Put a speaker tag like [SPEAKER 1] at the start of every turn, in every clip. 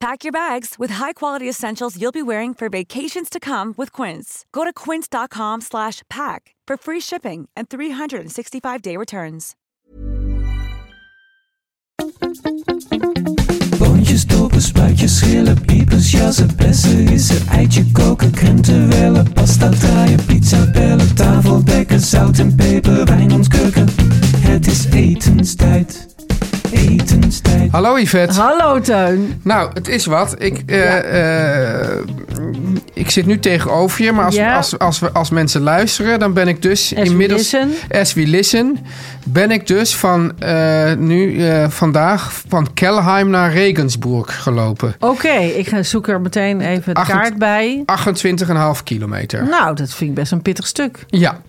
[SPEAKER 1] Pack your bags with high-quality essentials you'll be wearing for vacations to come with Quince. Go to quince.com slash pack for free shipping and 365-day returns.
[SPEAKER 2] Boontjes, dopen, spuitjes, schillen, piepers, jassen, bessen, rissen, eitje koken, krenten wellen, pasta draaien, pizza bellen, tafel dekken, zout en peper, wijn ontkurken. Het is etenstijd, etenstijd.
[SPEAKER 3] Hallo Yvette.
[SPEAKER 4] Hallo Teun.
[SPEAKER 3] Nou, het is wat. Ik, eh, eh, ik zit nu tegenover je, maar als,
[SPEAKER 4] Ja.
[SPEAKER 3] als, als, we als mensen luisteren, dan ben ik dus
[SPEAKER 4] As we
[SPEAKER 3] inmiddels.
[SPEAKER 4] listen.
[SPEAKER 3] As we listen, ben ik dus van eh, nu eh, vandaag van Kelheim naar Regensburg gelopen.
[SPEAKER 4] Oké, ik ga- zoek er meteen even het
[SPEAKER 3] Achtend-
[SPEAKER 4] kaart bij.
[SPEAKER 3] 28,5 kilometer.
[SPEAKER 4] Nou, dat vind ik best een pittig stuk.
[SPEAKER 3] Ja.
[SPEAKER 4] Laten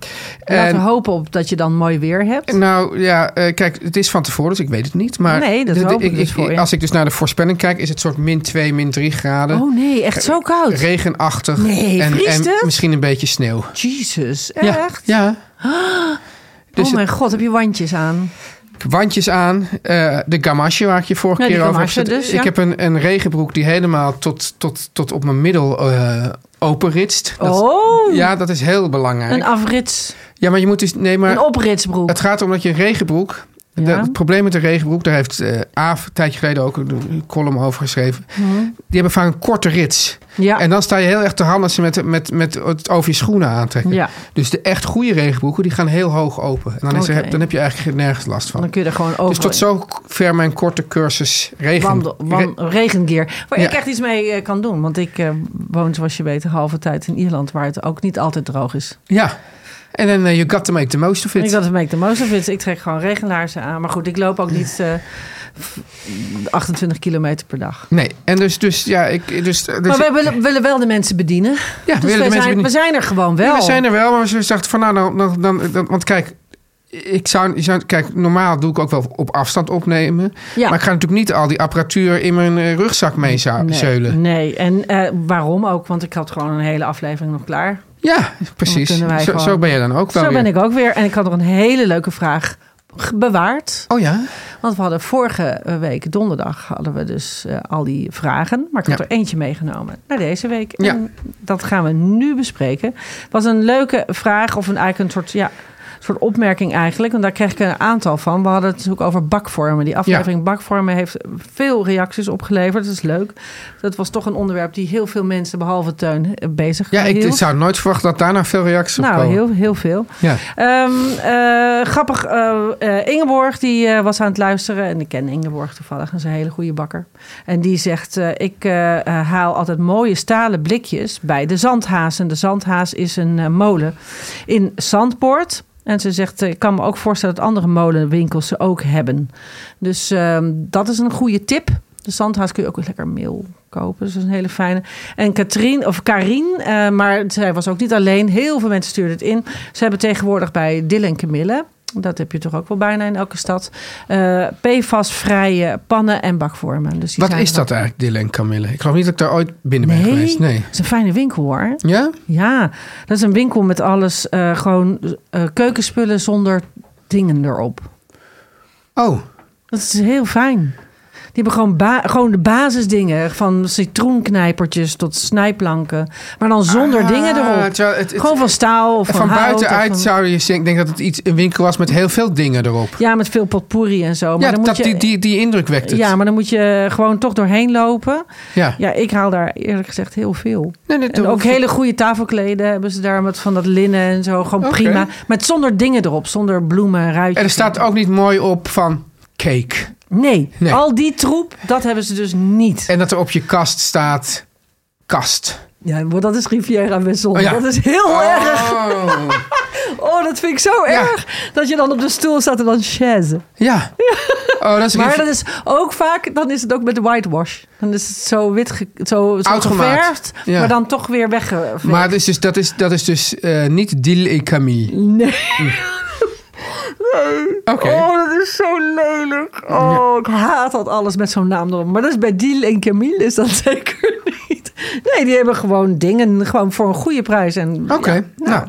[SPEAKER 4] we
[SPEAKER 3] En-
[SPEAKER 4] hopen op dat je dan mooi weer hebt.
[SPEAKER 3] Nou ja, eh, kijk, het is van tevoren, dus ik weet het niet. Maar
[SPEAKER 4] Nee, dat
[SPEAKER 3] de- de-
[SPEAKER 4] hoop ik dus voor je.
[SPEAKER 3] Als ik dus naar de voorspelling kijk, is het soort min 2, min 3 graden.
[SPEAKER 4] oh nee, echt zo koud.
[SPEAKER 3] Regenachtig
[SPEAKER 4] Nee,
[SPEAKER 3] en,
[SPEAKER 4] vriest
[SPEAKER 3] en
[SPEAKER 4] het?
[SPEAKER 3] misschien een beetje sneeuw.
[SPEAKER 4] Jesus,
[SPEAKER 3] Ja,
[SPEAKER 4] echt?
[SPEAKER 3] Ja. Dus
[SPEAKER 4] oh mijn god, heb je wandjes aan?
[SPEAKER 3] wandjes aan, eh, de gamasje waar ik je vorige
[SPEAKER 4] Ja, die
[SPEAKER 3] keer over heb
[SPEAKER 4] gamasje
[SPEAKER 3] gezet.
[SPEAKER 4] dus, ja.
[SPEAKER 3] Ik heb een, een regenbroek die helemaal tot, tot, tot op mijn middel eh openritst. Dat-
[SPEAKER 4] oh,
[SPEAKER 3] Ja, dat is heel
[SPEAKER 4] een
[SPEAKER 3] belangrijk.
[SPEAKER 4] afrits,
[SPEAKER 3] ja, maar je moet dus... Nee, maar
[SPEAKER 4] een opritsbroek.
[SPEAKER 3] Het gaat om dat je een regenbroek.
[SPEAKER 4] Ja.
[SPEAKER 3] de- het probleem met de regenbroek, daar heeft eh Aaf een tijdje geleden ook een column over geschreven. Die hebben vaak een korte rits.
[SPEAKER 4] Mhm. ja,
[SPEAKER 3] En dan sta je heel erg te handen als ze met, met, met het over je schoenen aantrekken.
[SPEAKER 4] ja,
[SPEAKER 3] Dus de echt goede regenbroeken, die gaan heel hoog open. En dan, is er,
[SPEAKER 4] Oké.
[SPEAKER 3] dan heb je eigenlijk nergens last van.
[SPEAKER 4] dan kun je er gewoon over.
[SPEAKER 3] Dus tot zover mijn korte cursus regen.
[SPEAKER 4] Wandel, wan,
[SPEAKER 3] re-
[SPEAKER 4] regengear. Waar
[SPEAKER 3] Ja.
[SPEAKER 4] ik echt iets mee eh, kan doen. Want ik eh, woon, zoals je weet, een halve tijd in Ierland. Waar het ook niet altijd droog is.
[SPEAKER 3] ja. En dan eh, you got to make the most of
[SPEAKER 4] Ik
[SPEAKER 3] it.
[SPEAKER 4] dat het make the most of it. Ik trek gewoon regenlaarzen aan. Maar goed, ik loop ook niet eh, 28 kilometer per dag.
[SPEAKER 3] Nee, en dus, dus ja, ik... Dus, dus,
[SPEAKER 4] maar we willen, willen wel de mensen bedienen. Dus
[SPEAKER 3] ja,
[SPEAKER 4] we,
[SPEAKER 3] willen de mensen
[SPEAKER 4] zijn,
[SPEAKER 3] weer niet-
[SPEAKER 4] we zijn er gewoon wel.
[SPEAKER 3] Ja, we zijn er wel, maar ze dacht van nou, dan, dan, dan, dan- want kijk, ik zou, je zou- kijk, normaal doe ik ook wel op afstand opnemen.
[SPEAKER 4] Ja.
[SPEAKER 3] Maar ik ga natuurlijk niet al die apparatuur in mijn eh, rugzak mee zou-
[SPEAKER 4] nee,
[SPEAKER 3] zeulen.
[SPEAKER 4] nee, en eh, waarom ook? Want ik had gewoon een hele aflevering nog klaar.
[SPEAKER 3] Ja, precies.
[SPEAKER 4] Dan kunnen wij
[SPEAKER 3] Zo,
[SPEAKER 4] gewoon-
[SPEAKER 3] zo ben je dan ook wel
[SPEAKER 4] Zo ben
[SPEAKER 3] weer.
[SPEAKER 4] ik ook weer. En ik had nog een hele leuke vraag ge- bewaard.
[SPEAKER 3] Oh ja?
[SPEAKER 4] Want we hadden vorige week, donderdag, hadden we dus eh, al die vragen. Maar ik had
[SPEAKER 3] Ja.
[SPEAKER 4] er eentje meegenomen naar deze week. En
[SPEAKER 3] Ja.
[SPEAKER 4] dat gaan we nu bespreken. Was een leuke vraag, of een, eigenlijk een soort, ja, soort opmerking eigenlijk. Want daar kreeg ik een aantal van. We hadden het natuurlijk over bakvormen. Die aflevering bakvormen heeft veel reacties opgeleverd. Dat is leuk. Dat was toch een onderwerp die heel veel mensen, behalve Teun, eh, bezig
[SPEAKER 3] Ja, ik
[SPEAKER 4] hield.
[SPEAKER 3] zou nooit verwachten dat daarna veel reacties op
[SPEAKER 4] Nou,
[SPEAKER 3] komen.
[SPEAKER 4] heel, heel veel.
[SPEAKER 3] Ja.
[SPEAKER 4] Ehm, eh, grappig, eh, eh, Ingeborg die eh, was aan het luisteren. En ik ken Ingeborg toevallig, dat is een hele goede bakker. En die zegt, eh, ik eh, eh, haal altijd mooie stalen blikjes bij de Zandhaas. En de Zandhaas is een eh, molen in Zandpoort. En ze zegt, eh, ik kan me ook voorstellen dat andere molenwinkels ze ook hebben. Dus ehm, dat is een goede tip. De Zandhaas kun je ook lekker meel kopen. Dus dat is een hele fijne. En Katrien, of Karin, eh, maar zij was ook niet alleen. Heel veel mensen stuurden het in. Ze hebben tegenwoordig bij Dille en Camille. Dat heb je toch ook wel bijna in elke stad. eh PFAS-vrije pannen en bakvormen. Dus die
[SPEAKER 3] Wat
[SPEAKER 4] zijn
[SPEAKER 3] is
[SPEAKER 4] er
[SPEAKER 3] dat
[SPEAKER 4] wel.
[SPEAKER 3] eigenlijk, Dylan en Camille? Ik geloof niet dat ik daar ooit binnen ben
[SPEAKER 4] Nee.
[SPEAKER 3] geweest. Nee.
[SPEAKER 4] Het is een fijne winkel hoor.
[SPEAKER 3] Ja?
[SPEAKER 4] Ja, dat is een winkel met alles. eh, gewoon eh, keukenspullen zonder dingen erop.
[SPEAKER 3] Oh,
[SPEAKER 4] Dat is heel fijn. Die hebben gewoon, ba- gewoon de basisdingen. Van citroenknijpertjes tot snijplanken. Maar dan zonder
[SPEAKER 3] Ah,
[SPEAKER 4] dingen erop.
[SPEAKER 3] terwijl het- het-
[SPEAKER 4] gewoon van staal of van,
[SPEAKER 3] Van,
[SPEAKER 4] hout of
[SPEAKER 3] buitenuit
[SPEAKER 4] van-
[SPEAKER 3] zou je denken denk dat het iets, een winkel was met heel veel dingen erop.
[SPEAKER 4] Ja, met veel potpourri en zo. Maar
[SPEAKER 3] ja,
[SPEAKER 4] dan moet
[SPEAKER 3] dat,
[SPEAKER 4] je,
[SPEAKER 3] die, die, die indruk wekt het.
[SPEAKER 4] ja, maar dan moet je gewoon toch doorheen lopen.
[SPEAKER 3] Ja.
[SPEAKER 4] Ja, ik haal daar eerlijk gezegd heel veel.
[SPEAKER 3] Nee, nee,
[SPEAKER 4] En
[SPEAKER 3] dat
[SPEAKER 4] ook
[SPEAKER 3] hoeft-
[SPEAKER 4] hele goede tafelkleden hebben ze daar met van dat linnen en zo. Gewoon
[SPEAKER 3] Oké.
[SPEAKER 4] prima. Met zonder dingen erop. Zonder bloemen en ruitjes.
[SPEAKER 3] En er staat ook niet mooi op van cake.
[SPEAKER 4] Nee.
[SPEAKER 3] Nee.
[SPEAKER 4] al die troep, dat hebben ze dus niet.
[SPEAKER 3] En dat er op je kast staat kast.
[SPEAKER 4] Ja, maar dat is Riviera Wessel.
[SPEAKER 3] Oh ja.
[SPEAKER 4] Dat is heel erg.
[SPEAKER 3] Oh.
[SPEAKER 4] Oh, dat vind ik zo
[SPEAKER 3] Ja.
[SPEAKER 4] erg. Dat je dan op de stoel staat en dan chaise.
[SPEAKER 3] Ja. Oh, dat is
[SPEAKER 4] Maar
[SPEAKER 3] lief.
[SPEAKER 4] dat is ook vaak, dan is het ook met de whitewash. Dan is het zo wit, ge- zo, zo
[SPEAKER 3] Uitgemaakt.
[SPEAKER 4] geverfd,
[SPEAKER 3] Ja.
[SPEAKER 4] maar dan toch weer weggeverfd.
[SPEAKER 3] Maar dat is dus, dat is, dat is dus eh, niet Dil et Camille.
[SPEAKER 4] Nee.
[SPEAKER 3] Oké.
[SPEAKER 4] Oh, dat is zo lelijk. Oh, ik haat dat alles met zo'n naam erop. Maar dat is bij Deal en Camille is dat zeker niet. Nee, die hebben gewoon dingen gewoon voor een goede prijs. En
[SPEAKER 3] Oké, nou.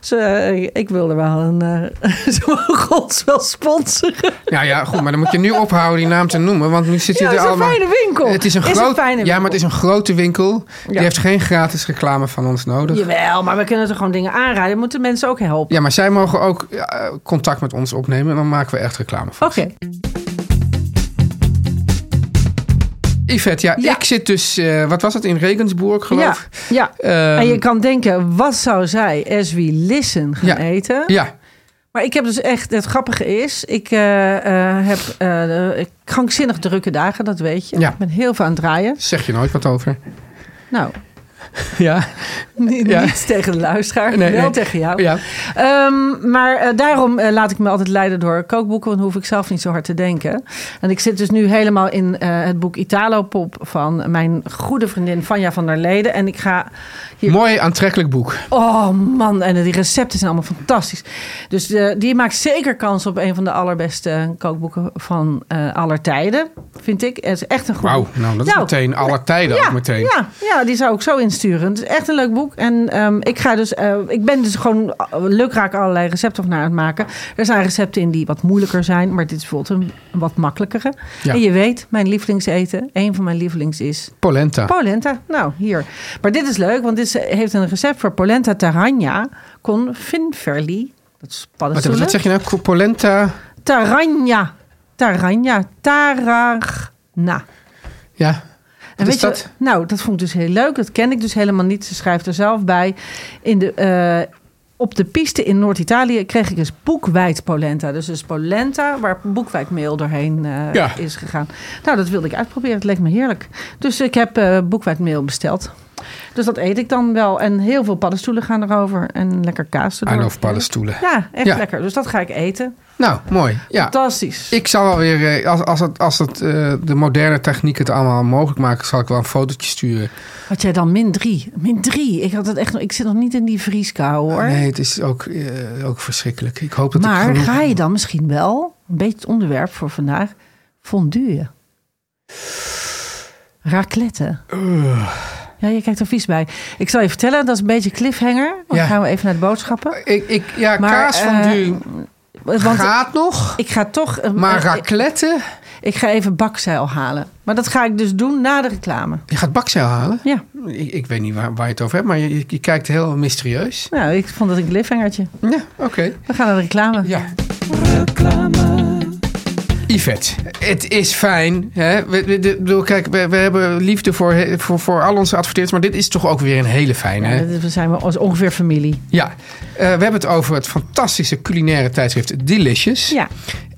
[SPEAKER 4] ze, eh, ik wil er wel een... eh, ze mogen ons wel sponsoren.
[SPEAKER 3] Ja, ja, goed, maar dan moet je nu ophouden die naam te noemen, want nu zit je
[SPEAKER 4] Ja,
[SPEAKER 3] er
[SPEAKER 4] het is een
[SPEAKER 3] allemaal...
[SPEAKER 4] fijne winkel.
[SPEAKER 3] Het is een,
[SPEAKER 4] Is een
[SPEAKER 3] groot...
[SPEAKER 4] fijne
[SPEAKER 3] Ja,
[SPEAKER 4] winkel.
[SPEAKER 3] maar het is een grote winkel. Die
[SPEAKER 4] Ja.
[SPEAKER 3] heeft geen gratis reclame van ons nodig.
[SPEAKER 4] Jawel, maar we kunnen er gewoon dingen aanraden. We moeten mensen ook helpen.
[SPEAKER 3] Ja, maar zij mogen ook eh, contact met ons opnemen en dan maken we echt reclame van.
[SPEAKER 4] Oké.
[SPEAKER 3] Yvette, ja,
[SPEAKER 4] Oh. Ja.
[SPEAKER 3] ik zit dus, eh, wat was het, in Regensburg
[SPEAKER 4] Ja,
[SPEAKER 3] geloof ik?
[SPEAKER 4] ja.
[SPEAKER 3] Ehm,
[SPEAKER 4] en je kan denken, wat zou zij, as we listen, gaan
[SPEAKER 3] Ja.
[SPEAKER 4] eten?
[SPEAKER 3] Ja,
[SPEAKER 4] Maar ik heb dus echt, het grappige is, ik eh, eh, heb eh, eh, krankzinnig drukke dagen, dat weet je.
[SPEAKER 3] Ja.
[SPEAKER 4] Ik ben heel veel aan het draaien.
[SPEAKER 3] zeg je nooit wat over.
[SPEAKER 4] Nou,
[SPEAKER 3] Ja,
[SPEAKER 4] ni-
[SPEAKER 3] Ja.
[SPEAKER 4] niet tegen de luisteraar,
[SPEAKER 3] Nee,
[SPEAKER 4] wel
[SPEAKER 3] nee.
[SPEAKER 4] tegen jou.
[SPEAKER 3] ja.
[SPEAKER 4] Ehm, maar eh, daarom eh, laat ik me altijd leiden door kookboeken, want dan hoef ik zelf niet zo hard te denken. En ik zit dus nu helemaal in eh, het boek Italo Pop van mijn goede vriendin Vanja van der Leden. En ik ga hier
[SPEAKER 3] Mooi aantrekkelijk boek.
[SPEAKER 4] Oh man, en die recepten zijn allemaal fantastisch. Dus eh, die maakt zeker kans op een van de allerbeste kookboeken van eh aller tijden, vind ik. Het is echt een goed
[SPEAKER 3] Wauw,
[SPEAKER 4] boek.
[SPEAKER 3] nou dat is
[SPEAKER 4] Nou,
[SPEAKER 3] meteen alle tijden
[SPEAKER 4] ja,
[SPEAKER 3] ook meteen.
[SPEAKER 4] Ja, ja, die zou ik zo insturen. Het is echt een leuk boek. En ehm, ik, ga dus, eh, ik ben dus gewoon eh, lukraak allerlei recepten naar aan het maken. Er zijn recepten in die wat moeilijker zijn, maar dit is bijvoorbeeld een wat makkelijkere.
[SPEAKER 3] Ja.
[SPEAKER 4] En je weet, mijn lievelingseten, een van mijn lievelings is
[SPEAKER 3] Polenta.
[SPEAKER 4] Polenta, nou hier. Maar dit is leuk, want dit is- heeft een recept voor polenta taranja con finferli. Dat is
[SPEAKER 3] Wat, wat
[SPEAKER 4] paddenstoelen.
[SPEAKER 3] zeg je nou? Polenta.
[SPEAKER 4] Taranja. Taranja. Taragna.
[SPEAKER 3] Ja.
[SPEAKER 4] En
[SPEAKER 3] Wat is
[SPEAKER 4] weet je-
[SPEAKER 3] dat?
[SPEAKER 4] nou, dat vond ik dus heel leuk. Dat ken ik dus helemaal niet. Ze schrijft er zelf bij. In de, eh, op de piste in Noord-Italië kreeg ik dus boekwijd polenta. Dus dus polenta waar boekwijdmeel doorheen eh,
[SPEAKER 3] Ja.
[SPEAKER 4] is gegaan. Nou, dat wilde ik uitproberen. Het leek me heerlijk. Dus ik heb eh boekwijdmeel besteld. Dus dat eet ik dan wel. En heel veel paddenstoelen gaan erover. En lekker kaas erdoor.
[SPEAKER 3] I love paddenstoelen.
[SPEAKER 4] Ja, echt
[SPEAKER 3] Ja.
[SPEAKER 4] lekker. Dus dat ga ik eten.
[SPEAKER 3] Nou, mooi. Ja.
[SPEAKER 4] Fantastisch.
[SPEAKER 3] Ik zal wel weer, eh, als, als, het, als het, eh, de moderne techniek het allemaal mogelijk maakt, zal ik wel een fotootje sturen.
[SPEAKER 4] Had jij dan min drie? Min drie. Ik, had het echt, nog- ik zit nog niet in die vrieskou hoor.
[SPEAKER 3] Nee, het is ook, eh, ook verschrikkelijk. Ik hoop dat ik
[SPEAKER 4] Maar
[SPEAKER 3] genoeg-
[SPEAKER 4] ga je dan misschien wel, een beetje het onderwerp voor vandaag, fondue? Raclette.
[SPEAKER 3] Eh.
[SPEAKER 4] Ja, je kijkt er vies bij. Ik zal je vertellen, dat is een beetje cliffhanger. Dan
[SPEAKER 3] Ja.
[SPEAKER 4] gaan we even naar de boodschappen.
[SPEAKER 3] Ik, ik, ja,
[SPEAKER 4] Maar,
[SPEAKER 3] kaas van
[SPEAKER 4] eh,
[SPEAKER 3] nu
[SPEAKER 4] Want
[SPEAKER 3] gaat nog,
[SPEAKER 4] ik ga toch... eh,
[SPEAKER 3] maar
[SPEAKER 4] eh, ik,
[SPEAKER 3] raclette...
[SPEAKER 4] ik ga even bakzeil halen. Maar dat ga ik dus doen na de reclame.
[SPEAKER 3] Je gaat bakzeil halen?
[SPEAKER 4] Ja.
[SPEAKER 3] Ik, ik weet niet waar, waar je het over hebt, maar je, je- je kijkt heel mysterieus.
[SPEAKER 4] Nou, ik vond dat een cliffhangertje.
[SPEAKER 3] Ja, oké.
[SPEAKER 4] We gaan naar de reclame.
[SPEAKER 3] Ja. Yvette, het is fijn. Hè? We, we, de- bedoel, kijk, we, we hebben liefde voor, he- voor, voor al onze adverteerders, maar dit is toch ook weer een hele fijne. hè?
[SPEAKER 4] Ja, dit- we zijn wel als ongeveer familie.
[SPEAKER 3] Ja, Eh, we hebben het over het fantastische culinaire tijdschrift Delicious.
[SPEAKER 4] Ja.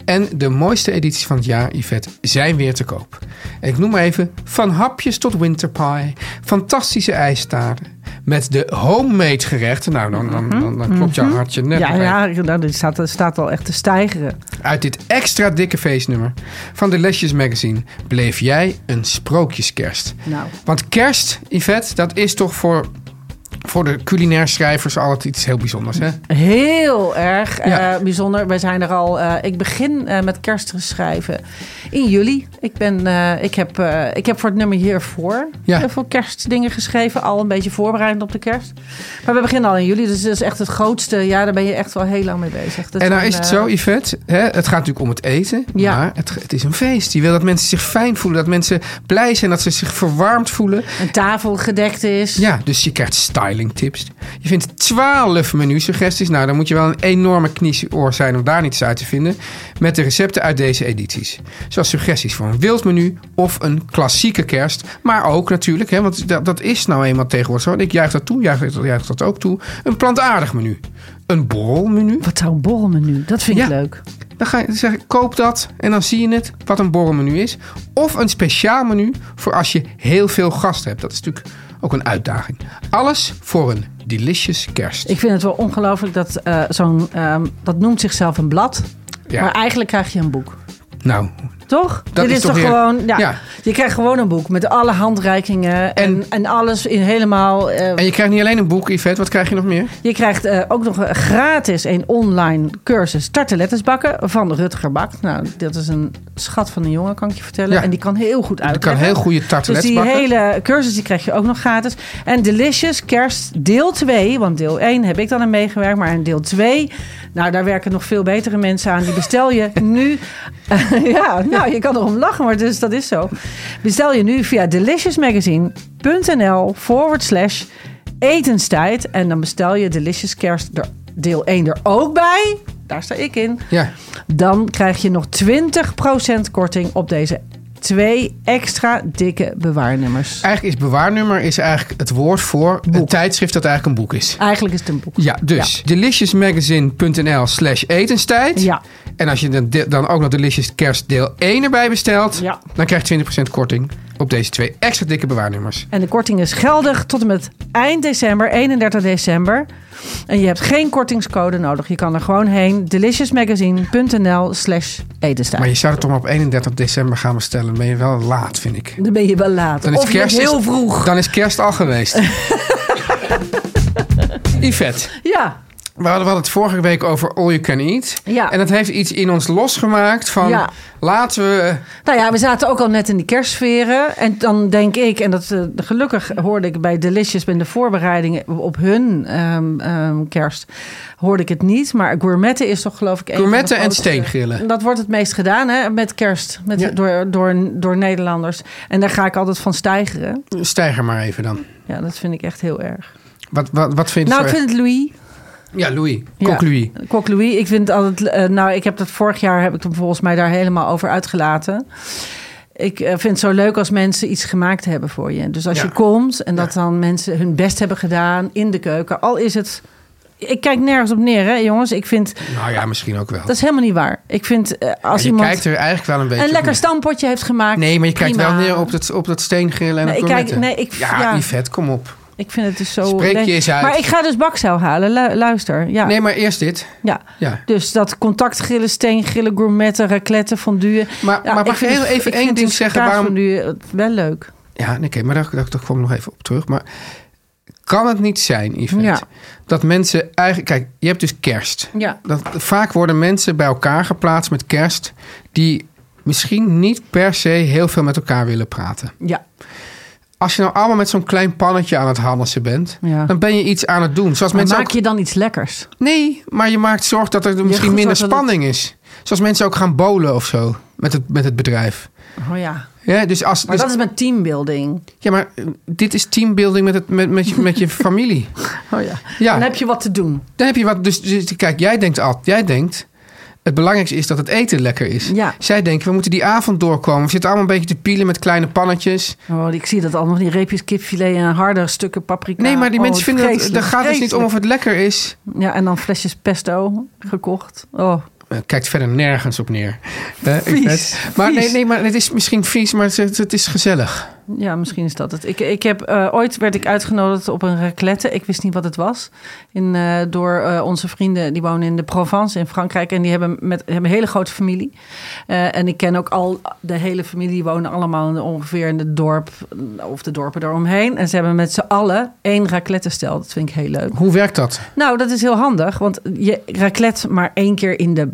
[SPEAKER 3] En de mooiste edities van het jaar, Yvette, zijn weer te koop. En ik noem maar even van hapjes tot winterpie, fantastische ijstaarden. Met de homemade gerechten, nou dan, dan, dan, dan klopt jouw hartje net
[SPEAKER 4] Mhm. Ja,
[SPEAKER 3] nog even.
[SPEAKER 4] ja, nou, dit staat, staat al echt te stijgeren.
[SPEAKER 3] Uit dit extra dikke feestnummer van de Lesjes Magazine bleef jij een sprookjeskerst.
[SPEAKER 4] Nou.
[SPEAKER 3] Want kerst, Yvette, dat is toch voor voor de culinair schrijvers altijd iets heel bijzonders. Hè?
[SPEAKER 4] Heel erg eh,
[SPEAKER 3] Ja.
[SPEAKER 4] bijzonder. Wij zijn er al. eh, ik begin eh, met kerst te schrijven in juli. Ik, ben, eh, ik, heb, eh, ik heb voor het nummer hiervoor
[SPEAKER 3] Ja.
[SPEAKER 4] eh, voor kerstdingen geschreven. Al een beetje voorbereidend op de kerst. Maar we beginnen al in juli. Dus dat is echt het grootste. Ja, daar ben je echt wel heel lang mee bezig. Dat
[SPEAKER 3] En nou
[SPEAKER 4] zijn,
[SPEAKER 3] is het
[SPEAKER 4] eh,
[SPEAKER 3] zo, Yvette, hè, het gaat natuurlijk om het eten,
[SPEAKER 4] Ja.
[SPEAKER 3] maar het, het is een feest. Je wil dat mensen zich fijn voelen, dat mensen blij zijn, dat ze zich verwarmd voelen.
[SPEAKER 4] eh, Een tafel gedekt is.
[SPEAKER 3] Ja, dus je krijgt styling tips. Je vindt 12 menu-suggesties. Nou, dan moet je wel een enorme kniesoor zijn om daar niets uit te vinden. Met de recepten uit deze edities. Zoals suggesties voor een wild menu of een klassieke kerst. Maar ook natuurlijk, hè, want dat, dat is nou eenmaal tegenwoordig zo. En ik juich dat toe, juich, dat- juich dat ook toe. Een plantaardig menu. Een borrelmenu.
[SPEAKER 4] Wat zou een borrelmenu? Dat vind ik
[SPEAKER 3] Ja.
[SPEAKER 4] leuk.
[SPEAKER 3] Dan ga je zeggen, koop dat en dan zie je het, wat een borrelmenu is. Of een speciaal menu voor als je heel veel gasten hebt. Dat is natuurlijk ook een uitdaging. Alles voor een delicious kerst.
[SPEAKER 4] Ik vind het wel ongelooflijk dat eh, zo'n. ehm, dat noemt zichzelf een blad.
[SPEAKER 3] Ja.
[SPEAKER 4] Maar eigenlijk krijg je een boek.
[SPEAKER 3] Nou,
[SPEAKER 4] Toch? Dit
[SPEAKER 3] is
[SPEAKER 4] is,
[SPEAKER 3] toch
[SPEAKER 4] toch
[SPEAKER 3] weer-
[SPEAKER 4] gewoon. Ja,
[SPEAKER 3] Ja.
[SPEAKER 4] Je krijgt gewoon een boek met alle handreikingen en,
[SPEAKER 3] En-
[SPEAKER 4] en, alles in helemaal. eh,
[SPEAKER 3] en je krijgt niet alleen een boek, Yvette. Wat krijg je nog meer?
[SPEAKER 4] je krijgt eh, ook nog eh, gratis een online cursus tartelettenbakken van Rutger Bak. Nou, dat is een schat van een jongen, kan ik je vertellen.
[SPEAKER 3] Ja.
[SPEAKER 4] En die kan heel goed
[SPEAKER 3] Je
[SPEAKER 4] uitleggen.
[SPEAKER 3] kan heel goede
[SPEAKER 4] Dus
[SPEAKER 3] tartelets
[SPEAKER 4] die
[SPEAKER 3] bakken.
[SPEAKER 4] hele cursus die krijg je ook nog gratis. En Delicious Kerst deel 2. Want deel 1 heb ik dan aan meegewerkt. Maar in deel 2, nou daar werken nog veel betere mensen aan. Die bestel je nu. ja, nou je kan erom lachen, maar dus dat is zo. Bestel je nu via deliciousmagazine.nl forward slash etenstijd. En dan bestel je Delicious Kerst er- deel 1 er ook bij. Daar sta ik in.
[SPEAKER 3] Ja,
[SPEAKER 4] Dan krijg je nog 20% korting op deze twee extra dikke bewaarnummers.
[SPEAKER 3] eigenlijk is bewaarnummer is eigenlijk het woord voor een tijdschrift dat eigenlijk een boek is.
[SPEAKER 4] Eigenlijk is het een boek.
[SPEAKER 3] Ja, dus deliciousmagazine.nl slash etenstijd.
[SPEAKER 4] Ja.
[SPEAKER 3] En als je dan, de- dan ook nog Delicious Kerst deel 1 erbij bestelt...
[SPEAKER 4] Ja.
[SPEAKER 3] dan krijg je 20% korting op deze twee extra dikke bewaarnummers.
[SPEAKER 4] En de korting is geldig tot en met eind december, 31 december. En je hebt geen kortingscode nodig. Je kan er gewoon heen. Deliciousmagazine.nl slash
[SPEAKER 3] Maar
[SPEAKER 4] etenstijd.
[SPEAKER 3] je zou het toch maar op 31 december gaan bestellen. Dan ben je wel laat, vind ik.
[SPEAKER 4] Dan ben je wel laat.
[SPEAKER 3] Dan
[SPEAKER 4] of je bent heel vroeg.
[SPEAKER 3] Dan is kerst al geweest. Yvette,
[SPEAKER 4] Ja,
[SPEAKER 3] we hadden, we hadden het vorige week over All You Can Eat.
[SPEAKER 4] Ja.
[SPEAKER 3] En dat heeft iets in ons losgemaakt van...
[SPEAKER 4] Ja.
[SPEAKER 3] laten we...
[SPEAKER 4] Nou ja, we zaten ook al net in die kerstsferen. En dan denk ik, en dat eh, gelukkig hoorde ik bij Delicious bij de voorbereidingen op hun ehm, ehm, kerst, hoorde ik het niet. Maar gourmetten is toch geloof ik een
[SPEAKER 3] Gourmetten
[SPEAKER 4] van
[SPEAKER 3] en
[SPEAKER 4] de grootste-
[SPEAKER 3] steengrillen.
[SPEAKER 4] Dat wordt het meest gedaan hè, met kerst, met,
[SPEAKER 3] Ja.
[SPEAKER 4] door, door, door Nederlanders. En daar ga ik altijd van stijgeren.
[SPEAKER 3] Stijg er maar even dan.
[SPEAKER 4] Ja, dat vind ik echt heel erg.
[SPEAKER 3] Wat, wat, wat vind je
[SPEAKER 4] Nou,
[SPEAKER 3] zo
[SPEAKER 4] ik
[SPEAKER 3] erg?
[SPEAKER 4] vind het Louis.
[SPEAKER 3] Ja, Louis.
[SPEAKER 4] Ja.
[SPEAKER 3] Kok Louis.
[SPEAKER 4] Kok Louis, ik vind altijd. eh, nou, ik heb dat vorig jaar heb ik hem volgens mij daar helemaal over uitgelaten. Ik eh, vind het zo leuk als mensen iets gemaakt hebben voor je. Dus als
[SPEAKER 3] Ja.
[SPEAKER 4] je komt en dat
[SPEAKER 3] Ja.
[SPEAKER 4] dan mensen hun best hebben gedaan in de keuken. Al is het. Ik kijk nergens op neer, hè, jongens. Ik vind.
[SPEAKER 3] Nou ja, misschien ook wel.
[SPEAKER 4] Dat is helemaal niet waar. Ik vind eh, als
[SPEAKER 3] je
[SPEAKER 4] iemand
[SPEAKER 3] kijkt er eigenlijk wel een beetje
[SPEAKER 4] een
[SPEAKER 3] op
[SPEAKER 4] lekker
[SPEAKER 3] neer.
[SPEAKER 4] stampotje heeft gemaakt.
[SPEAKER 3] Nee, maar je kijkt
[SPEAKER 4] prima.
[SPEAKER 3] wel neer op dat, op dat steengrillen en
[SPEAKER 4] Nee,
[SPEAKER 3] op
[SPEAKER 4] ik kijk-
[SPEAKER 3] gourmetten.
[SPEAKER 4] nee, ik-
[SPEAKER 3] ja,
[SPEAKER 4] ja.
[SPEAKER 3] Yvette, kom op.
[SPEAKER 4] Ik vind het dus zo.
[SPEAKER 3] Spreek je
[SPEAKER 4] leuk.
[SPEAKER 3] eens uit.
[SPEAKER 4] Maar ik ga dus bakzeil halen. Lu- Luister. Ja.
[SPEAKER 3] Nee, maar eerst dit.
[SPEAKER 4] ja.
[SPEAKER 3] Ja.
[SPEAKER 4] Dus dat contactgrillen, steengrillen, gourmetten, racletten, fondue.
[SPEAKER 3] Maar- maar mag
[SPEAKER 4] ik
[SPEAKER 3] ik
[SPEAKER 4] vind
[SPEAKER 3] heel
[SPEAKER 4] het-
[SPEAKER 3] even
[SPEAKER 4] ik
[SPEAKER 3] één
[SPEAKER 4] vind
[SPEAKER 3] ding
[SPEAKER 4] het
[SPEAKER 3] zeggen
[SPEAKER 4] kaas
[SPEAKER 3] waarom-
[SPEAKER 4] fondue, eh, wel leuk.
[SPEAKER 3] Ja, nee, oké, maar daar, daar, daar kom ik nog even op terug. Maar kan het niet zijn, Yvette,
[SPEAKER 4] Ja.
[SPEAKER 3] dat mensen eigenlijk... Kijk, je hebt dus kerst.
[SPEAKER 4] Ja.
[SPEAKER 3] Dat, vaak worden mensen bij elkaar geplaatst met kerst... die misschien niet per se heel veel met elkaar willen praten.
[SPEAKER 4] Ja.
[SPEAKER 3] Als je nou allemaal met zo'n klein pannetje aan het handelen bent...
[SPEAKER 4] Ja.
[SPEAKER 3] dan ben je iets aan het doen. Zoals
[SPEAKER 4] Maar
[SPEAKER 3] mensen
[SPEAKER 4] maak
[SPEAKER 3] ook-
[SPEAKER 4] je dan iets lekkers?
[SPEAKER 3] Nee, maar je maakt zorg dat er misschien
[SPEAKER 4] goed,
[SPEAKER 3] minder
[SPEAKER 4] dat we
[SPEAKER 3] spanning is. Zoals mensen ook gaan bowlen of zo met het, met het bedrijf.
[SPEAKER 4] Oh ja.
[SPEAKER 3] Ja, dus als,
[SPEAKER 4] Maar
[SPEAKER 3] dus-
[SPEAKER 4] dat is met teambuilding.
[SPEAKER 3] ja, maar eh, dit is teambuilding met, het, met, met, je, met je familie.
[SPEAKER 4] Oh ja.
[SPEAKER 3] Ja.
[SPEAKER 4] Dan heb je wat te doen.
[SPEAKER 3] Dan heb je wat. Dus, dus kijk, jij denkt al, jij denkt. Het belangrijkste is dat het eten lekker is.
[SPEAKER 4] Ja.
[SPEAKER 3] Zij denken, we moeten die avond doorkomen. We zitten allemaal een beetje te pielen met kleine pannetjes.
[SPEAKER 4] Oh, ik zie dat allemaal die reepjes kipfilet en harde stukken paprika.
[SPEAKER 3] Nee, maar die
[SPEAKER 4] Oh,
[SPEAKER 3] mensen vinden dat.
[SPEAKER 4] vreselijk,
[SPEAKER 3] Daar gaat het dus niet om of
[SPEAKER 4] vreselijk.
[SPEAKER 3] het lekker is.
[SPEAKER 4] Ja, en dan flesjes pesto gekocht. Oh,
[SPEAKER 3] eh, kijkt verder nergens op neer. Eh, ik
[SPEAKER 4] Vies,
[SPEAKER 3] weet- maar nee,
[SPEAKER 4] vies.
[SPEAKER 3] nee, maar het is misschien vies, maar het, het is gezellig.
[SPEAKER 4] Ja, misschien is dat het. Ik, ik heb, eh, ooit werd ik uitgenodigd op een raclette. Ik wist niet wat het was. In, eh, door eh, onze vrienden, die wonen in de Provence in Frankrijk. En die hebben, met, hebben een hele grote familie. Eh, en ik ken ook al de hele familie. Die wonen allemaal in- ongeveer in het dorp. eh, Of de dorpen eromheen. En ze hebben met z'n allen één raclette stel. Dat vind ik heel leuk.
[SPEAKER 3] Hoe werkt dat?
[SPEAKER 4] Nou, dat is heel handig. Want je raclette maar één keer in de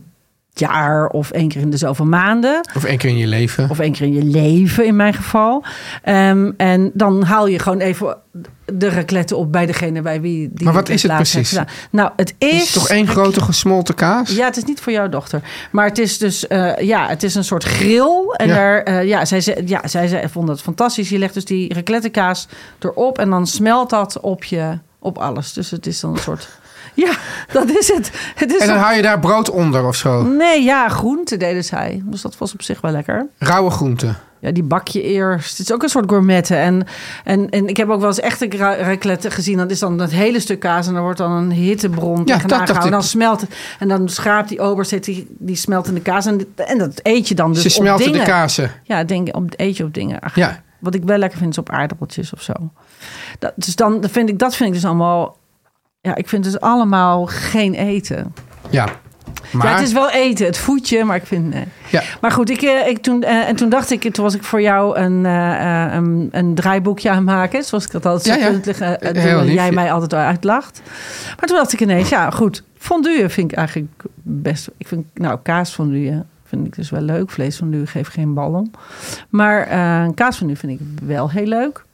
[SPEAKER 4] jaar of één keer in de zoveel maanden.
[SPEAKER 3] Of één keer in je leven?
[SPEAKER 4] Of één keer in je leven in mijn geval. Ehm, en dan haal je gewoon even de raclette op bij degene bij wie die
[SPEAKER 3] Maar wat is het
[SPEAKER 4] laatst heeft
[SPEAKER 3] precies?
[SPEAKER 4] gedaan. Nou, het is...
[SPEAKER 3] Het is toch één grote gesmolten kaas?
[SPEAKER 4] Ja, het is niet voor jouw dochter. Maar het is dus eh, ja, het is een soort grill. En
[SPEAKER 3] Ja.
[SPEAKER 4] daar, eh, ja, zij, ze- ja, zij, ze vond dat fantastisch. Je legt dus die raclettekaas erop en dan smelt dat op je, op alles. Dus het is dan een soort... Ja, dat is het. Het is Mm.
[SPEAKER 3] En dan
[SPEAKER 4] een-
[SPEAKER 3] hou je daar brood onder of zo.
[SPEAKER 4] Nee, ja, groente deden zij. Dus dat was op zich wel lekker.
[SPEAKER 3] Rauwe groenten.
[SPEAKER 4] Ja, die bak je eerst. Het is ook een soort gourmetten. En, en, en ik heb ook wel eens echte ra- raclette gezien. Dat is dan dat hele stuk kaas en er wordt dan een hittebron ja,
[SPEAKER 3] dat dacht
[SPEAKER 4] tegenaan gehouden. En dan
[SPEAKER 3] ik.
[SPEAKER 4] smelt het. En dan schraapt die ober, zet die, die smeltende kaas. En, en dat eet je dan dus
[SPEAKER 3] Ze
[SPEAKER 4] op
[SPEAKER 3] smelten
[SPEAKER 4] dingen.
[SPEAKER 3] de kazen.
[SPEAKER 4] Ja, denk, op, eet je op dingen. Ach,
[SPEAKER 3] Ja.
[SPEAKER 4] Wat ik wel lekker vind is op aardappeltjes of zo. Dat, dus dan vind ik, dat vind ik dus allemaal... Ja, ik vind het dus allemaal geen eten.
[SPEAKER 3] Ja. Maar,
[SPEAKER 4] Ja, het is wel eten. Het voetje, maar ik vind... Nee.
[SPEAKER 3] ja.
[SPEAKER 4] Maar goed, ik, eh, ik toen, eh, en toen dacht ik, toen was ik voor jou een, eh, eh, een, een draaiboekje aan het maken. Zoals ik dat altijd
[SPEAKER 3] Ja,
[SPEAKER 4] zo
[SPEAKER 3] ja.
[SPEAKER 4] puntelig, eh, eh,
[SPEAKER 3] Heel
[SPEAKER 4] doe,
[SPEAKER 3] lief,
[SPEAKER 4] jij
[SPEAKER 3] ja.
[SPEAKER 4] mij altijd uitlacht. Maar toen dacht ik ineens, ja goed, fondue vind ik eigenlijk best... Ik vind, nou, kaasfondue vind ik dus wel leuk. Vleesfondue geef geen bal om. Maar eh kaasfondue vind ik wel heel leuk.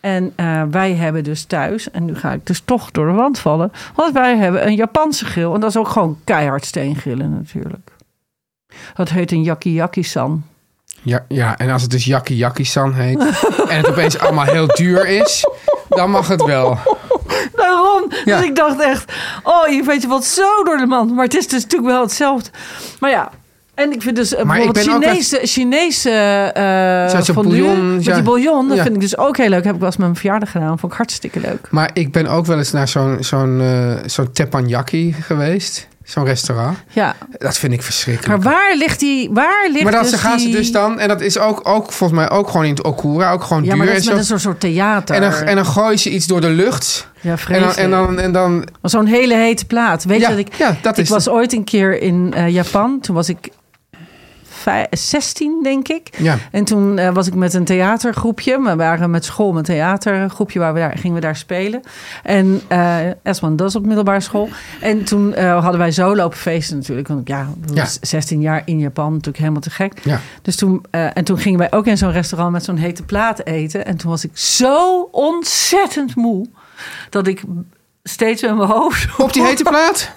[SPEAKER 4] En eh, wij hebben dus thuis, en nu ga ik dus toch door de wand vallen... want wij hebben een Japanse grill. En dat is ook gewoon keihard steengrillen natuurlijk. Dat heet een yakiyaki-san.
[SPEAKER 3] Ja, ja, en als het dus Yakki Yakki San heet en het opeens allemaal heel duur is, dan mag het wel.
[SPEAKER 4] Daarom.
[SPEAKER 3] Ja.
[SPEAKER 4] Dus ik dacht echt, oh, je weet je wat zo door de man. Maar het is dus natuurlijk wel hetzelfde. Maar ja. En ik vind dus eh,
[SPEAKER 3] Maar ik
[SPEAKER 4] bijvoorbeeld
[SPEAKER 3] ben ook
[SPEAKER 4] Chinese, Chinese eh,
[SPEAKER 3] Zo'n
[SPEAKER 4] fondue
[SPEAKER 3] bouillon,
[SPEAKER 4] met
[SPEAKER 3] ja.
[SPEAKER 4] die bouillon, dat
[SPEAKER 3] Ja.
[SPEAKER 4] vind ik dus ook heel leuk. Heb ik wel eens met mijn verjaardag gedaan, vond ik hartstikke leuk.
[SPEAKER 3] Maar ik ben ook wel eens naar zo'n zo'n eh, zo'n teppanyaki geweest, zo'n restaurant.
[SPEAKER 4] Ja,
[SPEAKER 3] Dat vind ik
[SPEAKER 4] maar
[SPEAKER 3] verschrikkelijk.
[SPEAKER 4] waar ligt die, waar ligt
[SPEAKER 3] Maar dan
[SPEAKER 4] dus
[SPEAKER 3] ze gaan
[SPEAKER 4] die...
[SPEAKER 3] ze dus dan, en dat is ook, ook volgens mij ook gewoon in het Okura, ook gewoon
[SPEAKER 4] Ja,
[SPEAKER 3] duur.
[SPEAKER 4] maar dat is
[SPEAKER 3] en,
[SPEAKER 4] met een
[SPEAKER 3] zo.
[SPEAKER 4] soort, soort theater.
[SPEAKER 3] en, dan, en dan gooien ze iets door de lucht.
[SPEAKER 4] ja,
[SPEAKER 3] En dan,
[SPEAKER 4] vreselijk.
[SPEAKER 3] en, dan, en dan,
[SPEAKER 4] Maar Zo'n hele hete plaat. Weet
[SPEAKER 3] Ja,
[SPEAKER 4] je dat ik...
[SPEAKER 3] ja, dat
[SPEAKER 4] ik
[SPEAKER 3] is
[SPEAKER 4] was ooit een keer in eh, Japan. Toen was ik vij- 16, denk ik.
[SPEAKER 3] ja.
[SPEAKER 4] En toen eh, was ik met een theatergroepje. We waren met school met een theatergroepje. Waar we daar, gingen we daar spelen. En eh Esman Das op middelbare school. En toen eh, hadden wij zo lopen feesten natuurlijk. Want ja, we
[SPEAKER 3] Ja.
[SPEAKER 4] was 16 jaar in Japan. Natuurlijk helemaal te gek.
[SPEAKER 3] Ja.
[SPEAKER 4] Dus toen, eh, en toen gingen wij ook in zo'n restaurant met zo'n hete plaat eten. En toen was ik zo ontzettend moe. Dat ik steeds met mijn hoofd...
[SPEAKER 3] Op die hete plaat?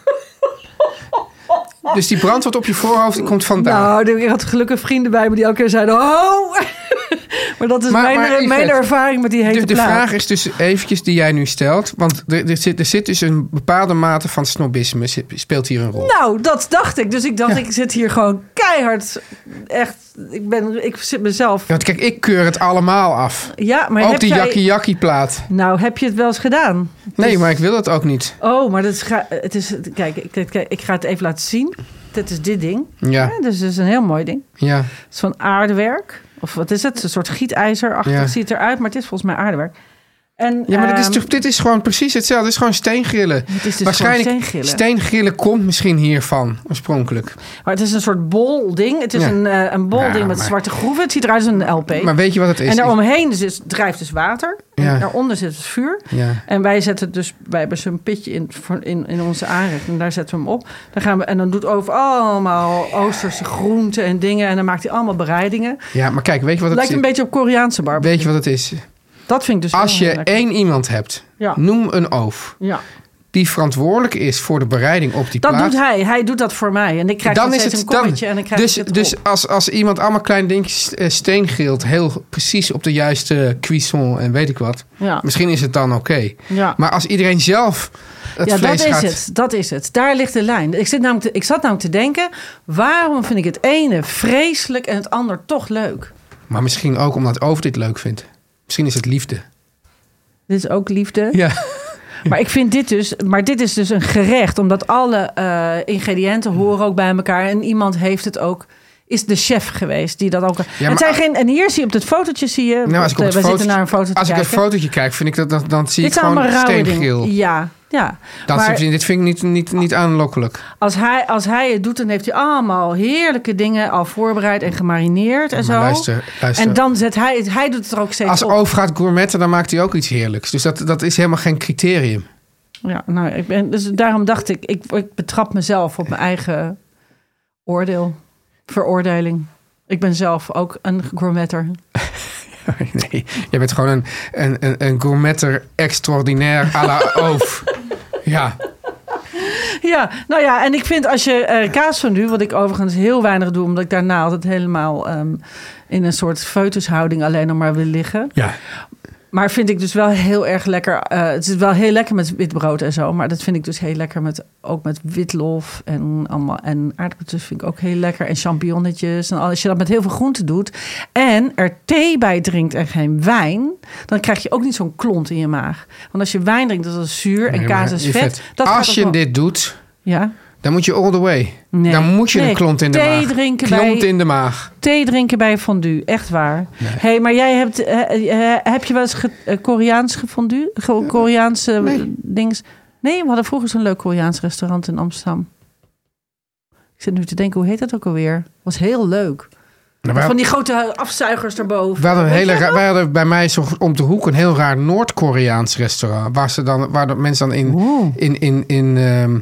[SPEAKER 3] Dus die brand wat op je voorhoofd die komt vandaar.
[SPEAKER 4] Nou, ik had gelukkig vrienden bij me die elke keer zeiden... Oh! maar dat is
[SPEAKER 3] Maar-
[SPEAKER 4] mijn,
[SPEAKER 3] maar Yvette,
[SPEAKER 4] mijn ervaring met die hete
[SPEAKER 3] de, de
[SPEAKER 4] plaat.
[SPEAKER 3] vraag is dus eventjes die jij nu stelt. Want er, er, zit, er zit dus een bepaalde mate van snobisme zit- speelt hier een rol.
[SPEAKER 4] Nou, dat dacht ik. Dus ik dacht, ik zit hier gewoon keihard. Echt, ik, ben, ik zit mezelf.
[SPEAKER 3] Ja,
[SPEAKER 4] Ja,
[SPEAKER 3] want kijk, ik keur het allemaal af.
[SPEAKER 4] maar
[SPEAKER 3] ook
[SPEAKER 4] heb
[SPEAKER 3] die
[SPEAKER 4] jij...
[SPEAKER 3] jakkie jakkie plaat.
[SPEAKER 4] Nou, heb je het wel eens gedaan?
[SPEAKER 3] Nee, maar ik wil dat ook niet.
[SPEAKER 4] Oh, maar dat is, ga- het is... Kijk, ik- kijk, kijk, ik ga het even laten zien. Dit is dit ding.
[SPEAKER 3] Ja,
[SPEAKER 4] Ja, dus het is een heel mooi ding.
[SPEAKER 3] ja.
[SPEAKER 4] Het is van aardewerk. Of wat is het? Een soort gietijzerachtig
[SPEAKER 3] Ja.
[SPEAKER 4] ziet het eruit. Maar het is volgens mij aardewerk. En,
[SPEAKER 3] ja maar dit, is
[SPEAKER 4] ehm,
[SPEAKER 3] toch, dit is gewoon precies hetzelfde. Het is gewoon steengrillen.
[SPEAKER 4] Het is dus
[SPEAKER 3] Waarschijnlijk
[SPEAKER 4] gewoon steengrillen.
[SPEAKER 3] steengrillen komt misschien hiervan oorspronkelijk.
[SPEAKER 4] Maar het is een soort bol ding. Het is
[SPEAKER 3] Ja.
[SPEAKER 4] een, eh, een bol
[SPEAKER 3] Ja,
[SPEAKER 4] ding met
[SPEAKER 3] maar-
[SPEAKER 4] zwarte groeven. Het ziet eruit als een LP.
[SPEAKER 3] Maar weet je wat het is?
[SPEAKER 4] en
[SPEAKER 3] Ik-
[SPEAKER 4] daaromheen dus, drijft dus water.
[SPEAKER 3] Ja.
[SPEAKER 4] En daaronder zit het vuur.
[SPEAKER 3] Ja.
[SPEAKER 4] En wij zetten het dus, wij hebben zo'n pitje in, voor- in, in onze aanrecht. En daar zetten we hem op. Dan gaan we, en dan doet over allemaal Oosterse groenten en dingen. En dan maakt hij allemaal bereidingen.
[SPEAKER 3] ja, maar kijk, weet je wat het
[SPEAKER 4] Lijkt
[SPEAKER 3] is?
[SPEAKER 4] een beetje op Koreaanse barbecue.
[SPEAKER 3] Weet je wat het is?
[SPEAKER 4] Dat vind ik dus
[SPEAKER 3] Als
[SPEAKER 4] wel
[SPEAKER 3] je
[SPEAKER 4] heel lekker.
[SPEAKER 3] één iemand hebt,
[SPEAKER 4] Ja.
[SPEAKER 3] noem een oof,
[SPEAKER 4] Ja,
[SPEAKER 3] die verantwoordelijk is voor de bereiding op die
[SPEAKER 4] dat
[SPEAKER 3] plaat.
[SPEAKER 4] doet hij. Hij doet dat voor mij. En ik krijg dan, steeds een kommetje en dan krijg
[SPEAKER 3] dus
[SPEAKER 4] ik het
[SPEAKER 3] dus
[SPEAKER 4] op.
[SPEAKER 3] als, als iemand allemaal kleine dingetjes eh, steengrilt, heel precies op de juiste cuisson en weet ik wat,
[SPEAKER 4] Ja.
[SPEAKER 3] misschien is het dan oké.
[SPEAKER 4] Ja.
[SPEAKER 3] Maar als iedereen zelf het
[SPEAKER 4] ja,
[SPEAKER 3] vlees
[SPEAKER 4] dat is
[SPEAKER 3] gaat,
[SPEAKER 4] het. Dat is het. Daar ligt de lijn. Ik, zit namelijk te- ik zat namelijk te denken, waarom vind ik het ene vreselijk en het ander toch leuk?
[SPEAKER 3] maar misschien ook omdat Over dit leuk vindt. Misschien is het liefde.
[SPEAKER 4] Dit is ook liefde.
[SPEAKER 3] Ja,
[SPEAKER 4] Maar ik vind dit dus, maar dit is dus een gerecht, omdat alle eh, ingrediënten horen ook bij elkaar. En iemand heeft het ook, is de chef geweest die dat ook.
[SPEAKER 3] maar-
[SPEAKER 4] het zijn geen, en hier zie je op het fotootje, zie je.
[SPEAKER 3] Nou, als
[SPEAKER 4] want,
[SPEAKER 3] ik op het
[SPEAKER 4] eh, we
[SPEAKER 3] fotootje,
[SPEAKER 4] zitten naar een foto te
[SPEAKER 3] als ik
[SPEAKER 4] kijken.
[SPEAKER 3] het fotootje kijk, vind ik dat, dat dan zie
[SPEAKER 4] dit
[SPEAKER 3] ik
[SPEAKER 4] zijn
[SPEAKER 3] gewoon
[SPEAKER 4] allemaal rauwe
[SPEAKER 3] steengeel.
[SPEAKER 4] dingen. Ja, ja.
[SPEAKER 3] Dat
[SPEAKER 4] maar
[SPEAKER 3] vind, dit vind ik niet, niet, niet aanlokkelijk.
[SPEAKER 4] als, hij, als hij het doet, dan heeft hij allemaal heerlijke dingen al voorbereid en gemarineerd en zo.
[SPEAKER 3] Maar luister, luister.
[SPEAKER 4] En dan zet hij het, hij doet het er ook steeds
[SPEAKER 3] Als
[SPEAKER 4] op.
[SPEAKER 3] Oof gaat gourmetten, dan maakt hij ook iets heerlijks. Dus dat, dat is helemaal geen criterium.
[SPEAKER 4] Ja, nou, ik ben, dus daarom dacht ik, ik, ik betrap mezelf op mijn eigen oordeel, veroordeling. Ik ben zelf ook een gourmetter.
[SPEAKER 3] Nee, jij bent gewoon een, een, een, een gourmetter extraordinair à la Oof. Ja,
[SPEAKER 4] Ja, nou ja, en ik vind als je eh kaas van nu, wat ik overigens heel weinig doe, omdat ik daarna altijd helemaal ehm, in een soort feutushouding alleen nog maar wil liggen.
[SPEAKER 3] ja.
[SPEAKER 4] Maar vind ik dus wel heel erg lekker. eh, het is wel heel lekker met wit brood en zo. Maar dat vind ik dus heel lekker met ook met witlof en allemaal. En aardappeltjes vind ik ook heel lekker. En champignonnetjes. En al- als je dat met heel veel groenten doet. En er thee bij drinkt en geen wijn. Dan krijg je ook niet zo'n klont in je maag. Want als je wijn drinkt, dat is zuur. en
[SPEAKER 3] Nee,
[SPEAKER 4] kaas
[SPEAKER 3] maar
[SPEAKER 4] is
[SPEAKER 3] je
[SPEAKER 4] vet.
[SPEAKER 3] vet.
[SPEAKER 4] Dat gaat
[SPEAKER 3] Als
[SPEAKER 4] ook
[SPEAKER 3] je
[SPEAKER 4] wel-
[SPEAKER 3] dit doet,
[SPEAKER 4] Ja.
[SPEAKER 3] dan moet je all the way.
[SPEAKER 4] Nee.
[SPEAKER 3] Dan moet je
[SPEAKER 4] Nee.
[SPEAKER 3] een klont in de
[SPEAKER 4] Thee
[SPEAKER 3] maag.
[SPEAKER 4] drinken
[SPEAKER 3] klont
[SPEAKER 4] bij-
[SPEAKER 3] in de maag.
[SPEAKER 4] Thee drinken bij fondue, echt waar. Hey, maar jij hebt, eh, eh, heb je wel eens ge- eh, Koreaans gefondue? Ge- Koreaanse eh,
[SPEAKER 3] nee.
[SPEAKER 4] dings? Nee, we hadden vroeger zo'n leuk Koreaans restaurant in Amsterdam. Ik zit nu te denken, hoe heet dat ook alweer? Was heel leuk.
[SPEAKER 3] Nou, wij-
[SPEAKER 4] Van die grote afzuigers erboven.
[SPEAKER 3] We hadden, een
[SPEAKER 4] Weet
[SPEAKER 3] hele
[SPEAKER 4] je
[SPEAKER 3] raar-
[SPEAKER 4] dat?
[SPEAKER 3] wij hadden bij mij zo om de hoek een heel raar Noord-Koreaans restaurant. Waar, ze dan, waar de mensen dan in,
[SPEAKER 4] Oeh.
[SPEAKER 3] in, in, in, ehm,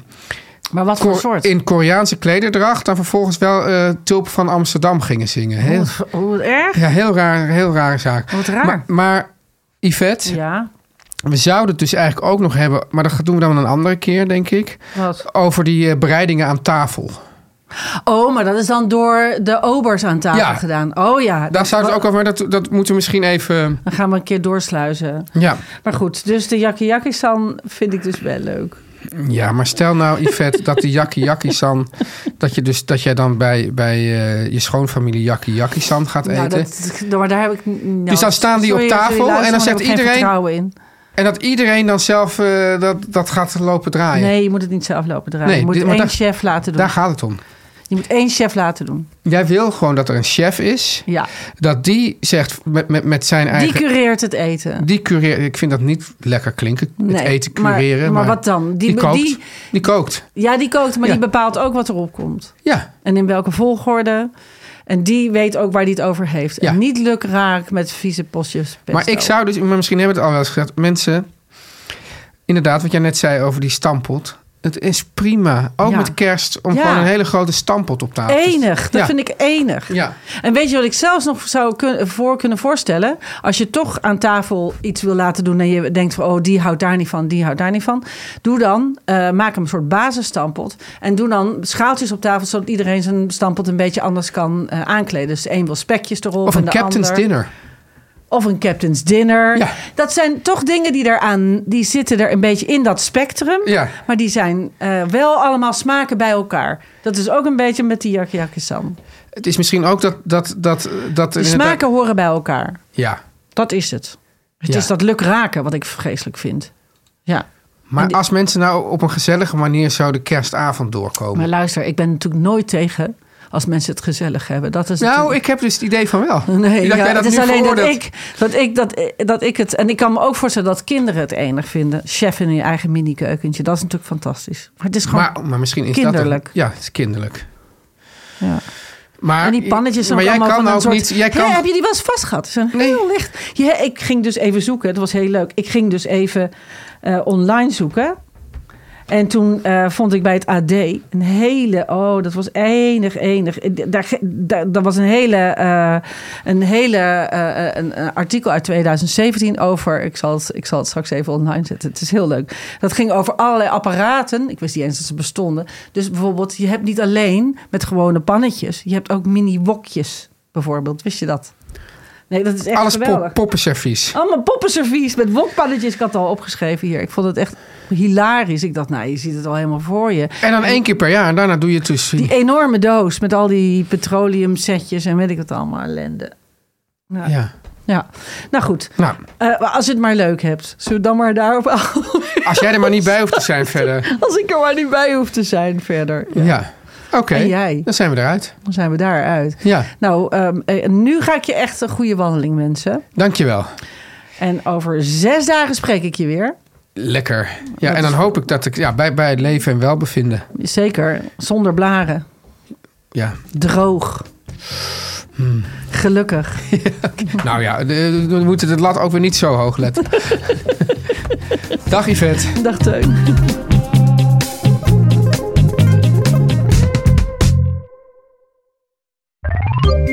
[SPEAKER 4] Maar wat voor
[SPEAKER 3] Ko-
[SPEAKER 4] soort?
[SPEAKER 3] in Koreaanse klederdracht. Dan vervolgens wel eh, Tulp van Amsterdam gingen zingen.
[SPEAKER 4] Oh,
[SPEAKER 3] Heel,
[SPEAKER 4] wat ver- oh, wat erg.
[SPEAKER 3] ja, heel raar, heel rare zaak.
[SPEAKER 4] Wat raar.
[SPEAKER 3] Maar, maar Yvette,
[SPEAKER 4] Ja,
[SPEAKER 3] we zouden het dus eigenlijk ook nog hebben. Maar dat doen we dan een andere keer, denk ik.
[SPEAKER 4] wat?
[SPEAKER 3] Over die eh, bereidingen aan tafel.
[SPEAKER 4] Oh, maar dat is dan door de obers aan tafel
[SPEAKER 3] Ja.
[SPEAKER 4] gedaan. Oh ja.
[SPEAKER 3] Daar zouden we
[SPEAKER 4] wa-
[SPEAKER 3] ook over. Maar dat, dat moeten we misschien even.
[SPEAKER 4] Dan gaan we een keer doorsluizen.
[SPEAKER 3] Ja.
[SPEAKER 4] Maar goed, dus de yakiyaki-san vind ik dus wel leuk.
[SPEAKER 3] Ja, maar stel nou, Yvette, dat de Jackie Jackie San. Dat, je dus, dat jij dan bij, bij eh, je schoonfamilie Jackie Jackie San gaat eten.
[SPEAKER 4] Nou, dat, maar daar heb ik... nou,
[SPEAKER 3] Dus dan staan die op tafel en dan
[SPEAKER 4] luisteren, maar
[SPEAKER 3] zegt
[SPEAKER 4] daar heb ik geen
[SPEAKER 3] iedereen-
[SPEAKER 4] vertrouwen in.
[SPEAKER 3] En dat iedereen dan zelf eh, dat, dat gaat lopen draaien.
[SPEAKER 4] Nee, je moet het niet zelf lopen draaien.
[SPEAKER 3] Ah, Nee,
[SPEAKER 4] je moet
[SPEAKER 3] dit- maar
[SPEAKER 4] één
[SPEAKER 3] daar-
[SPEAKER 4] chef laten doen.
[SPEAKER 3] Daar gaat het om.
[SPEAKER 4] Je moet één chef laten doen.
[SPEAKER 3] Jij wil gewoon dat er een chef is.
[SPEAKER 4] Ja.
[SPEAKER 3] Dat die zegt met, met, met zijn
[SPEAKER 4] Die
[SPEAKER 3] eigen.
[SPEAKER 4] cureert het eten.
[SPEAKER 3] die cureert. Ik vind dat niet lekker klinken.
[SPEAKER 4] Nee,
[SPEAKER 3] het eten
[SPEAKER 4] maar-
[SPEAKER 3] cureren.
[SPEAKER 4] maar wat dan? Die-
[SPEAKER 3] Die, kookt.
[SPEAKER 4] die-
[SPEAKER 3] Die kookt.
[SPEAKER 4] Ja, die kookt, maar
[SPEAKER 3] Ja.
[SPEAKER 4] die bepaalt ook wat erop komt.
[SPEAKER 3] Ja.
[SPEAKER 4] En in welke volgorde. En die weet ook waar die het over heeft.
[SPEAKER 3] Ja.
[SPEAKER 4] En niet lukraak met vieze postjes. pesto.
[SPEAKER 3] Maar ik zou dus, maar misschien hebben we het al wel eens gezegd, mensen, inderdaad, wat jij net zei over die stampot. Het is prima, ook
[SPEAKER 4] Ja.
[SPEAKER 3] met kerst, om
[SPEAKER 4] Ja.
[SPEAKER 3] gewoon een hele grote stampot op tafel te
[SPEAKER 4] Enig, dat
[SPEAKER 3] Ja.
[SPEAKER 4] vind ik enig.
[SPEAKER 3] Ja.
[SPEAKER 4] En weet je wat ik zelfs nog zou kun- voor kunnen voorstellen? Als je toch aan tafel iets wil laten doen en je denkt van oh, die houdt daar niet van, die houdt daar niet van. Doe dan, eh, maak hem een soort basisstampot. En doe dan schaaltjes op tafel, zodat iedereen zijn stampot een beetje anders kan eh, aankleden. Dus de een wil spekjes erop.
[SPEAKER 3] Of
[SPEAKER 4] en
[SPEAKER 3] een
[SPEAKER 4] de
[SPEAKER 3] captain's
[SPEAKER 4] ander.
[SPEAKER 3] dinner.
[SPEAKER 4] Of een captain's dinner.
[SPEAKER 3] Ja.
[SPEAKER 4] Dat zijn toch dingen die daaraan, die zitten er een beetje in dat spectrum.
[SPEAKER 3] Ja.
[SPEAKER 4] Maar die zijn eh, wel allemaal smaken bij elkaar. Dat is ook een beetje met die yakiyakisan.
[SPEAKER 3] Het is misschien ook dat... dat, dat, dat
[SPEAKER 4] De smaken horen bij elkaar.
[SPEAKER 3] Ja,
[SPEAKER 4] Dat is het. Het
[SPEAKER 3] Ja.
[SPEAKER 4] is dat luk raken wat ik vreselijk vind. Ja.
[SPEAKER 3] maar als mensen nou op een gezellige manier zo de kerstavond doorkomen.
[SPEAKER 4] Maar luister, ik ben natuurlijk nooit tegen als mensen het gezellig hebben. Dat is
[SPEAKER 3] nou,
[SPEAKER 4] natuurlijk-
[SPEAKER 3] ik heb dus het idee van wel.
[SPEAKER 4] Nee,
[SPEAKER 3] Ik dacht
[SPEAKER 4] ja,
[SPEAKER 3] jij dat
[SPEAKER 4] het is
[SPEAKER 3] nu
[SPEAKER 4] alleen dat
[SPEAKER 3] veroordeelt.
[SPEAKER 4] ik, dat, ik, dat, eh, dat ik het... En ik kan me ook voorstellen dat kinderen het enig vinden. Chef in je eigen mini-keukentje. Dat is natuurlijk fantastisch. Maar het is gewoon...
[SPEAKER 3] Maar, maar misschien is dat...
[SPEAKER 4] kinderlijk.
[SPEAKER 3] een- Ja, het is kinderlijk.
[SPEAKER 4] ja.
[SPEAKER 3] Maar,
[SPEAKER 4] En die pannetjes
[SPEAKER 3] maar
[SPEAKER 4] ook
[SPEAKER 3] jij
[SPEAKER 4] allemaal
[SPEAKER 3] kan
[SPEAKER 4] van
[SPEAKER 3] ook
[SPEAKER 4] een soort...
[SPEAKER 3] niet... Jij
[SPEAKER 4] Hè,
[SPEAKER 3] kan,
[SPEAKER 4] heb je die wel eens vast gehad? Zo'n
[SPEAKER 3] Nee.
[SPEAKER 4] heel licht. Ja, ik ging dus even zoeken. Het was heel leuk. Ik ging dus even eh, online zoeken. En toen eh, vond ik bij het AD een hele... Oh, dat was enig, enig. Eh, Daar, ge- daar, daar was een hele, eh, een hele eh, een, een artikel uit 2017 over... Ik zal, het, ik zal het straks even online zetten. Het is heel leuk. Dat ging over allerlei apparaten. Ik wist niet eens dat ze bestonden. Dus bijvoorbeeld, je hebt niet alleen met gewone pannetjes. Je hebt ook mini-wokjes, bijvoorbeeld. Wist je dat? Nee, dat is echt
[SPEAKER 3] alles
[SPEAKER 4] geweldig. Oh.
[SPEAKER 3] pop, poppenservies.
[SPEAKER 4] Allemaal poppenservies met wokpannetjes. Ik had het al opgeschreven hier. Ik vond het echt hilarisch. Ik dacht, nou, je ziet het al helemaal voor je.
[SPEAKER 3] En dan één keer per jaar. En daarna doe je het dus...
[SPEAKER 4] Die enorme doos met al die petroleumsetjes en weet ik wat allemaal ellende. Nou,
[SPEAKER 3] ja.
[SPEAKER 4] Ja, nou goed.
[SPEAKER 3] Nou,
[SPEAKER 4] Eh, maar als je het maar leuk hebt, zullen we dan maar daarop af-
[SPEAKER 3] als jij er maar niet bij hoeft te zijn verder.
[SPEAKER 4] Als ik er maar niet bij hoef te zijn verder.
[SPEAKER 3] Ja. Oké,
[SPEAKER 4] En jij?
[SPEAKER 3] dan zijn we eruit.
[SPEAKER 4] Dan zijn we daaruit.
[SPEAKER 3] Ja,
[SPEAKER 4] Nou, ehm, eh, nu ga ik je echt een goede wandeling wensen.
[SPEAKER 3] dankjewel.
[SPEAKER 4] En over zes dagen spreek ik je weer.
[SPEAKER 3] Lekker. Ja, en dan hoop ik dat ik ja, bij, bij het leven en welbevinden.
[SPEAKER 4] Zeker, zonder blaren.
[SPEAKER 3] Ja.
[SPEAKER 4] Droog. Gelukkig.
[SPEAKER 3] Nou ja, de- we moeten het lat ook weer niet zo hoog letten. Dag Yvette.
[SPEAKER 4] Dag Teun.